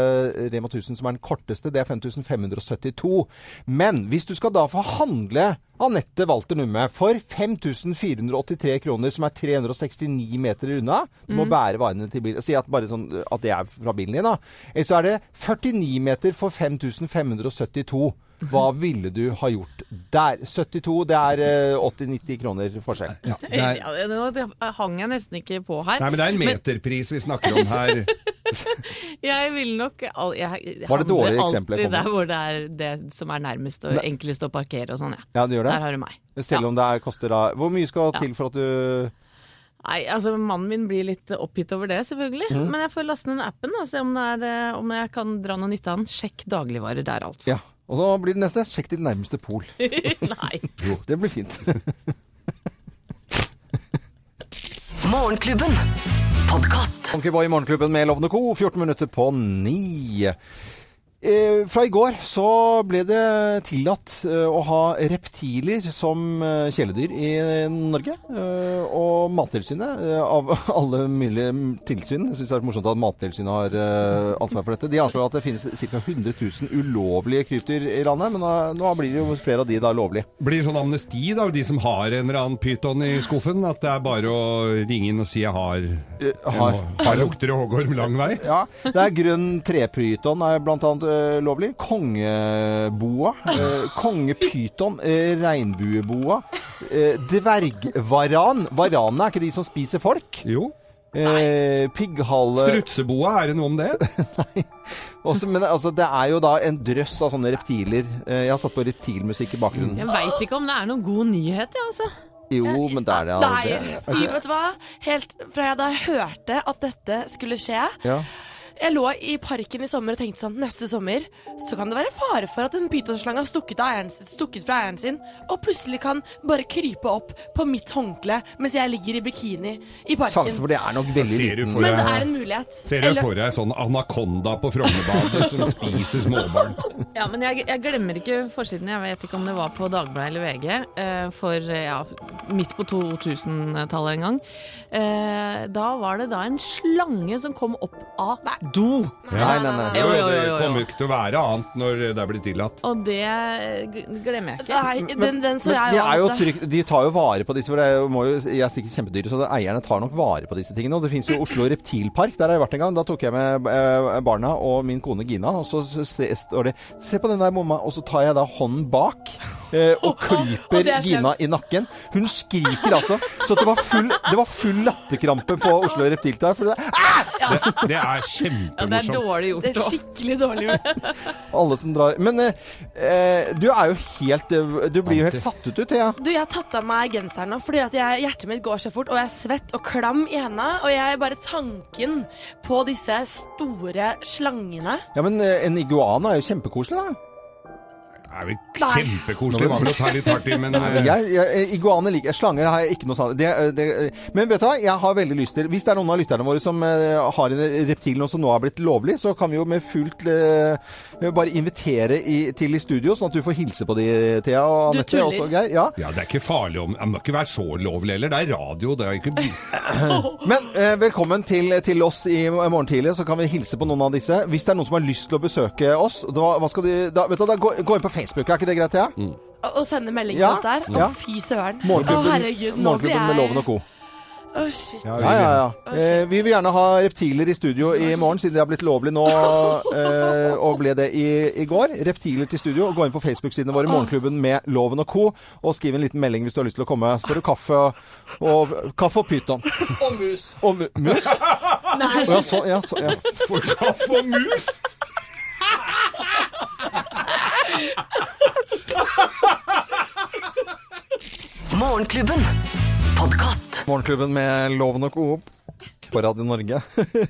S1: Rema 1000 som er den korteste. Det er 5572. Men hvis du skal da få handle Anette Walter Numme for 5483 kroner, som er 369 meter unna Du må
S2: Mhm.
S13: Mm.
S1: bære varene til bilen. Si at, bare sånn, eh, at det er fra bilen din, da. Eller så er det 49 meter for 5572. Hva
S2: Mhm.
S1: ville du ha gjort der? 72, det er eh, 80-90 kroner forskjell.
S2: Ja, det- nå det hang jeg nesten ikke på her.
S5: Nei, men det er en meterpris vi snakker om her.
S2: Jeg vil nok al- jeg, jeg
S5: Var det
S2: handler
S5: dårlige
S2: alltid
S5: eksempler jeg kom med?
S2: Der hvor det er det som er nærmest og
S1: Nei.
S2: enklest å parkere og sånn, ja.
S1: Ja, det gjør det?
S2: Der har du meg.
S1: Selv om det er, koster da Hvor mye skal til for at du
S2: Nei, altså mannen min blir litt oppgitt over det, selvfølgelig.
S5: Mm.
S1: Mhm.
S2: Men jeg får laste ned appen og se om, det er, eh, om jeg kan dra noe nytte av den. Sjekk dagligvarer der, altså.
S1: Ja. Og så blir det neste. Sjekk ditt nærmeste pol.
S2: Nei.
S1: Jo, det blir fint.
S4: Morgenklubben. Podkast.
S1: Monkeyboy i Morgenklubben med Lovende Co. 14 minutter på ni. Eh, Fra i går så ble det tillatt eh, å ha reptiler som eh, kjæledyr i Norge. Eh, Og Mattilsynet, eh, av alle mulige tilsyn, jeg syns det er morsomt at Mattilsynet har eh, ansvar for dette. De anslår at det finnes ca. 100 000 ulovlige krypdyr i landet, men da- nå blir det jo flere av de da lovlige.
S5: Blir sånn amnesti, da, de som har en eller annen pyton i skuffen? At det er bare å ringe inn og si 'jeg har
S1: Eh, har-
S5: jeg har lukter hoggorm lang vei'?
S1: Ja, det er grønn trepyton er blant annet eh, lovlig. Kongeboa. eh, kongepyton. eh, regnbueboa. eh, dvergvaran. Varanene er ikke de som spiser folk?
S5: Jo.
S1: Eh, Pigghale
S5: Strutseboa, er det noe om det?
S1: Også, men altså, det er jo da en drøss av sånne reptiler. Eh, jeg har satt på reptilmusikk i bakgrunnen.
S2: Jeg veit ikke om det er noen god nyhet, jeg, altså.
S1: Jo, men det er det.
S3: Nei,
S1: det-
S3: fy, vet du hva? Helt fra jeg da hørte at dette skulle skje
S1: Ja.
S3: Jeg lå i parken i sommer og tenkte sånn Neste sommer så kan det være fare for at en pytonslange har stukket, av eieren, sin- stukket fra eieren sin og plutselig kan bare krype opp på mitt håndkle mens jeg ligger i bikini i parken.
S1: Sjansen for det er nok veldig
S5: Ser du
S1: liten.
S5: for
S3: Men
S5: deg-
S3: det er en mulighet.
S5: Ser du
S3: Eller-
S5: for deg sånn anakonda på Frognerbadet som spiser småbarn?
S2: Ja, men jeg, jeg glemmer ikke forsiden. Jeg vet ikke om det var på Dagbladet eller VG. eh, For eh, ja, midt på 2000-tallet en gang. Eh, Da var det da en slange som kom opp av do.
S5: Jo,
S2: Jo,
S5: jo,
S2: jo,
S5: Det
S2: jo, jo.
S5: kommer jo ikke til å være annet når det blir tillatt.
S2: Og det gl- glemmer jeg ikke.
S3: Nei, den, den så
S1: Men
S3: jeg eh.
S1: de, er jo
S3: av.
S1: trygg, de tar jo vare på disse, for det er jo- må jo, jeg er sikkert kjempedyre, så det- eierne tar nok vare på disse tingene. Og det finnes jo Oslo Reptilpark, der har jeg vært en gang. Da tok jeg med eh, barna og min kone Gina, og så s- s- står det Se på den der mamma, og så tar jeg da hånden bak. eh, Og
S13: Og det
S1: klyper
S13: er slemt.
S1: Gina i nakken. Hun skriker altså. Så det var full, det var full latterkrampe på Oslo Reptilpark. For det,
S5: Det, det er
S2: Ja, det er
S5: kjempemorsomt.
S2: dårlig gjort.
S3: Det er skikkelig dårlig gjort.
S1: alle som drar Men eh, eh, du er jo helt eh, Du blir jo helt satt ut, du, Thea.
S3: Du, jeg har tatt av meg genseren nå, fordi at jeg, hjertet mitt går så fort, og jeg er svett og klam i henda, og jeg bare tanken på disse store slangene.
S1: Ja, men eh, en iguana er jo kjempekoselig, da.
S5: Det er vel kjempekoselig for å ta litt hardt i, men eh,
S1: Nei, men jeg, jeg, iguaner liker jeg. Slanger har jeg ikke noe sånt. Det, eh, det, men vet du hva, jeg har veldig lyst til Hvis det er noen av lytterne våre som eh, har en reptil nå som nå har blitt lovlig, så kan vi jo med fullt eh, bare invitere i, til i studio, sånn at du får hilse på de, Thea og
S5: Du
S1: Anette.
S5: tuller.
S1: Også, Geir. Ja.
S5: Ja, det er ikke farlig om Det må ikke være så lovlig heller. Det er radio, det er ikke
S1: Men eh, velkommen til, til oss i eh, morgen tidlig, så kan vi hilse på noen av disse. Hvis det er noen som har lyst til å besøke oss, da, hva skal de, da, vet du, hva, da gå, gå inn på Facebook, er ikke det greit, Thea?
S3: Og, og sende melding til
S1: Ja,
S3: oss der.
S1: ja.
S3: Å, fy søren. Å, herregud,
S1: Morgenklubben,
S3: nå blir
S1: morgenklubben med
S3: jeg
S1: Loven og co.
S3: Å, shit.
S1: Ja, ja, ja. Eh, vi vil gjerne ha reptiler i studio i morgen, siden det har blitt lovlig nå eh, og ble det i, i går. Reptiler til studio. Gå inn på Facebook-sidene våre, Morgenklubben med Loven og co., og skriv en liten melding hvis du har lyst til å komme. Så får du kaffe og, kaffe og pyton.
S13: Og mus.
S1: Og mu- mus?
S13: Nei.
S1: Ja, så, ja, så, ja.
S5: Får kaffe og mus?
S4: Morgenklubben. Podkast.
S1: Morgenklubben med Loven og Coop på Radio Norge.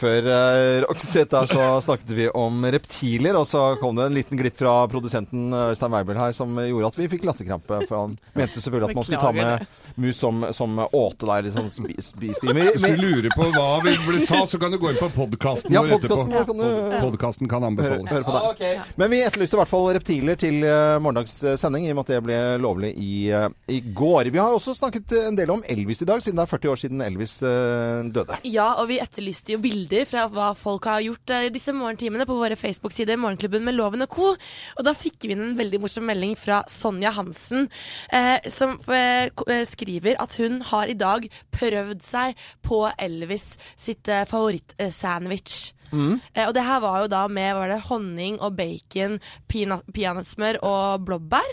S1: Før eh, Roxette her så snakket vi om reptiler, og så kom det en liten glipp fra produsenten eh, Øystein Weibel her som gjorde at vi fikk latterkrampe. For han mente selvfølgelig at man skulle ta
S5: Beklager
S1: med mus som, som åte deg, liksom spis, spis, spis. Men-
S5: Hvis du lurer på hva vi ble sa, så kan du gå inn på podkasten
S1: Ja,
S5: vår etterpå.
S1: podcasten vår kan du-
S5: Podkasten kan
S1: Hør,
S5: anbefales.
S1: hør
S4: Ah,
S1: på deg. Men vi etterlyste i hvert fall reptiler til eh, morgendags eh, sending, i og med at det ble lovlig i, eh, i går. Vi har også snakket eh, en del om Elvis i dag, siden det er 40 år siden Elvis eh, døde.
S3: Ja, og vi etterlyste jo bilder fra hva folk har gjort eh, disse morgentimene på våre Facebook-sider Morgenklubben med Loven og Co. Og da fikk vi inn en veldig morsom melding fra Sonja Hansen, eh, som eh, ko- eh, skriver at hun har i dag prøvd seg på Elvis sitt eh, favorittsandwich. Eh, og det her var jo da med hva var det, honning og bacon, peanut- peanøttsmør og blåbær.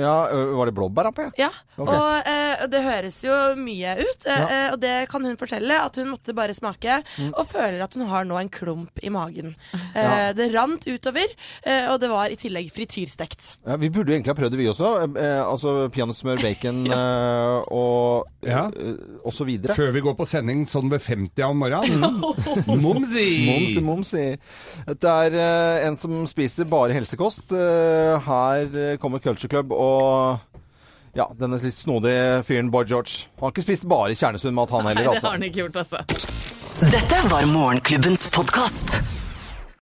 S1: Ja, ø, Var det blåbær oppe?
S3: Ja,
S1: Ok.
S3: og eh, det høres jo mye ut, eh,
S1: Ja.
S3: eh, og det kan hun fortelle, at hun måtte bare smake,
S1: Mm.
S3: og føler at hun har nå en klump i magen. Eh,
S1: Ja.
S3: Det rant utover, eh, og det var i tillegg frityrstekt.
S1: Ja, vi burde jo egentlig ha prøvd det, vi også. Eh, eh, altså peanøttsmør, bacon eh, og, eh, og så videre.
S5: Før vi går på sending sånn ved 50 om morgenen. Momsi!
S1: Momsi, momsi. Det er eh, en som spiser bare helsekost. Eh, her eh, kommer Culture Club og ja, denne litt snodige fyren Boy George. Han har ikke spist bare kjernesunn mat, han
S2: Nei,
S1: heller,
S2: det
S1: altså.
S2: har han ikke gjort, altså.
S4: Dette var Morgenklubbens podkast.